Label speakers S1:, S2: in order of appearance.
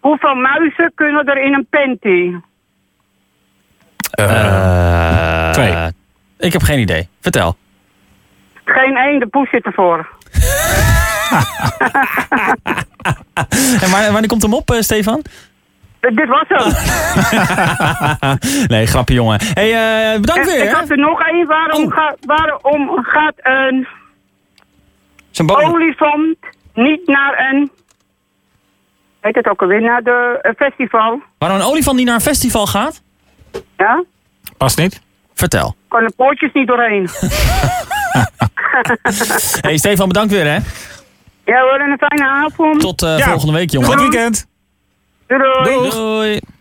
S1: Hoeveel muizen kunnen er in een panty?
S2: Eh,
S3: twee.
S2: Ik heb geen idee. Vertel.
S1: Geen één, de poes zit ervoor.
S2: En waar- wanneer komt hem op, eh, Stefan?
S1: Eh, Dit was hem.
S2: Oh, Nee, grapje, jongen. hey, eh, bedankt
S1: En
S2: weer.
S1: ik
S2: hè.
S1: had er nog één. Waarom,
S2: Oh.
S1: ga- waarom gaat een
S3: Zijn
S1: Oh.
S3: bodem.
S1: olifant niet naar een... Heet het ook alweer? Naar de eh, festival.
S2: Waarom een olifant die naar een festival gaat?
S1: Ja?
S3: Past niet.
S2: Vertel.
S1: Kan de poortjes niet doorheen.
S2: hey, Stefan, bedankt weer, hè.
S1: ja hoor, en een fijne avond.
S2: Tot eh,
S3: Ja.
S2: volgende week, jongen.
S3: Goed weekend.
S1: Doei doei.
S2: Doei.